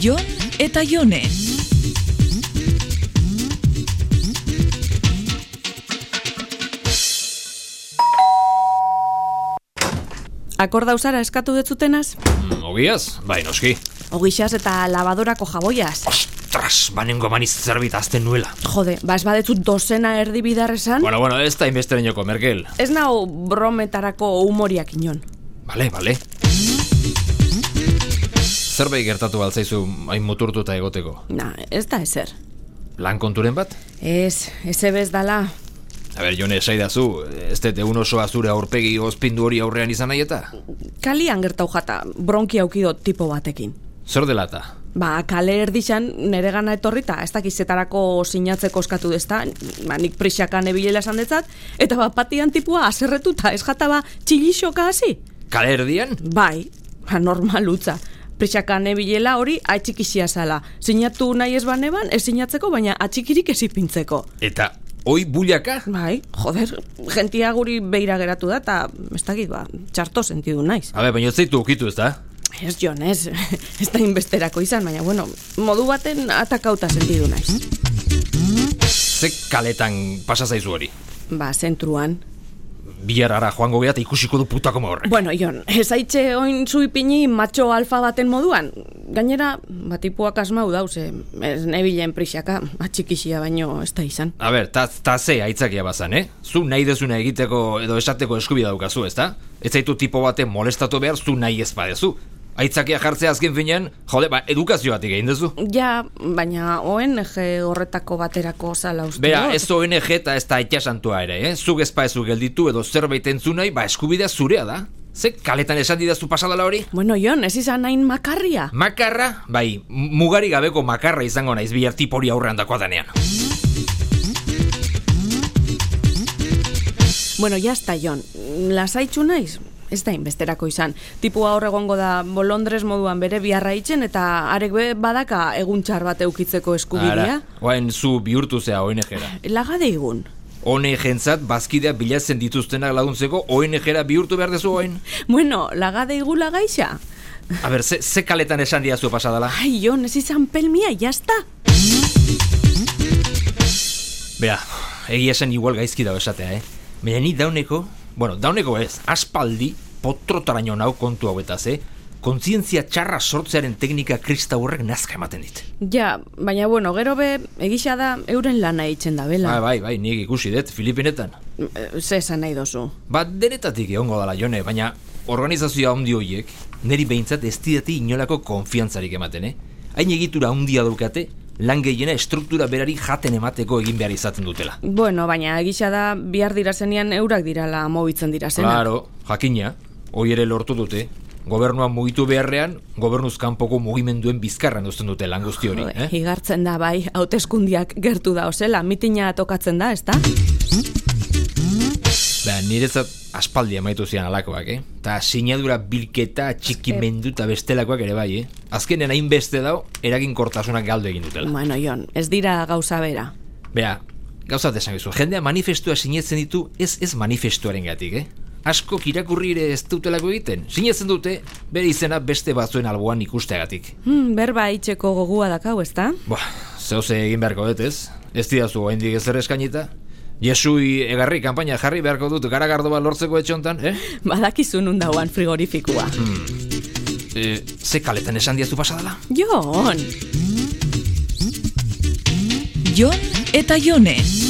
Jon eta Jone. Akordauzara eskatu detzutenaz, Mm, Ogiaz? Bai, noski. ogixaz eta labadorako jaboiaz. Ostras, banengo maniz zerbait azten nuela. Jode, ba ez badetzut dozena erdi bidar esan, Bueno, bueno, ez da inbesteren joko, Merkel. ez nao brometarako humoriak inon. Bale, bale. Zerbait gertatu altzaizu hain muturtuta egoteko. Na, ez da ezer. Lan konturen bat? Ez, ez ebez dala. A ber, jone, esaidazu, ez dut egun osoa zure aurpegi ozpindu hori aurrean izan nahi eta? Kalian gertau jata, bronki aukido tipo batekin. Zer dela eta? Ba, kale erdixan nere gana etorrita, ez dakizetarako sinatzeko eskatu dezta, ba, nik prisakan ebilela esan detzat, eta ba, patian tipua aserretuta, ez jata ba, txilixoka hasi. Kale erdian? Bai, ba, normalutza. Prisakan ebilela hori atxikisia zala. Sinatu nahi ez baneban, ez sinatzeko, baina atxikirik ez ipintzeko. Eta oi bullaka? Bai, joder, gentia guri beira geratu da, eta ez dakit, ba, txarto sentidu naiz. A ber, baina ez zaitu ukitu ez da? Ez Jon, ez, ez da inbesterako izan, baina, bueno, modu baten atakauta sentidu naiz. Ze kaletan pasa zaizu hori? Ba, zentruan. Biarara joango geha eta ikusiko du putako horrek. Bueno, Jon, ez haitxe oin zuipini matxo alfa baten moduan. Gainera, batipuak asmau dauz, eh, ez nebilen prisaka, atxikisia baino ez da izan. A ber, ta, ta ze aitzakia bazan, eh? Zu nahi dezuna egiteko edo esateko eskubidea daukazu, ezta? Ez zaitu tipo baten molestatu behar zu nahi ez badezu. Aitzakia jartzea azken finean, jode, ba, edukazioatik egin duzu. Ja, baina ONG horretako baterako zala uste. Bera, dut. ez ONG eta ez da itxasantua ere, eh? Zuk ez baezu gelditu edo zerbait entzunai, ba, eskubidea zurea da. Ze kaletan esan didazu pasadala hori? Bueno, Jon, ez izan hain makarria. Makarra, bai, mugari gabeko makarra izango naiz bihar tipori aurrean dakoa danean. Bueno, jazta, Jon, lasaitxu naiz? Ez da inbesterako izan. Tipua hor egongo da bolondrez moduan bere biharra itxen eta arek be badaka egun txar bat eukitzeko eskubidea. oain zu bihurtu zea ONG-era. Laga deigun. ONG-entzat bazkidea bilatzen dituztenak laguntzeko ONG-era bihurtu behar dezu oain. Bueno, laga deigu lagaixa. A ber, ze, ze kaletan esan diazu pasadala? Ai, Jon, ez izan pelmia, jazta. Bea, egia esan igual gaizki dago esatea, eh? Baina ni dauneko, bueno, dauneko ez, aspaldi, potrotaraino nau kontu hauetaz, eh? Kontzientzia txarra sortzearen teknika krista horrek nazka ematen dit. Ja, baina bueno, gero be, egisa da euren lana itxen da, Bai, bela. bai, bai, nik ikusi dut, Filipinetan. E, Ze esan nahi dozu. Ba, denetatik egongo dala, jone, baina organizazioa handi hoiek, neri behintzat ez didate inolako konfiantzarik ematen, eh? Hain egitura handia daukate, lan gehiena estruktura berari jaten emateko egin behar izaten dutela. Bueno, baina egisa da bihar dirazenean eurak dirala mobitzen dirazena. Claro, jakina, hoi ere lortu dute. Gobernuan mugitu beharrean, gobernuz kanpoko mugimenduen bizkarran uzten dute lan guzti hori, Jode, eh? Igartzen da bai, hauteskundiak gertu da osela, mitina tokatzen da, ezta? Ba, niretzat aspaldi amaitu zian alakoak, eh? Ta sinadura bilketa, txikimendu eta bestelakoak ere bai, eh? Azkenen hainbeste dau, eraginkortasunak galdu egin dutela. Bueno, Jon, ez dira gauza bera. Bea, gauzat esan gizu, jendea manifestua sinetzen ditu ez ez manifestuaren gatik, eh? Asko kirakurri ere ez dutelako egiten, sinetzen dute bere izena beste batzuen alboan ikusteagatik. Hmm, berba itxeko gogua dakau, ezta? Ba, zeuze egin beharko dut ez? Ez didazu oraindik ezer eskainita? Jesui egarri kanpaina jarri beharko dut garagardo bat lortzeko etxontan, eh? Badakizu nun dauan frigorifikua. Hmm. E, ze kaletan esan diazu pasadala? Jon! Jon eta Jone.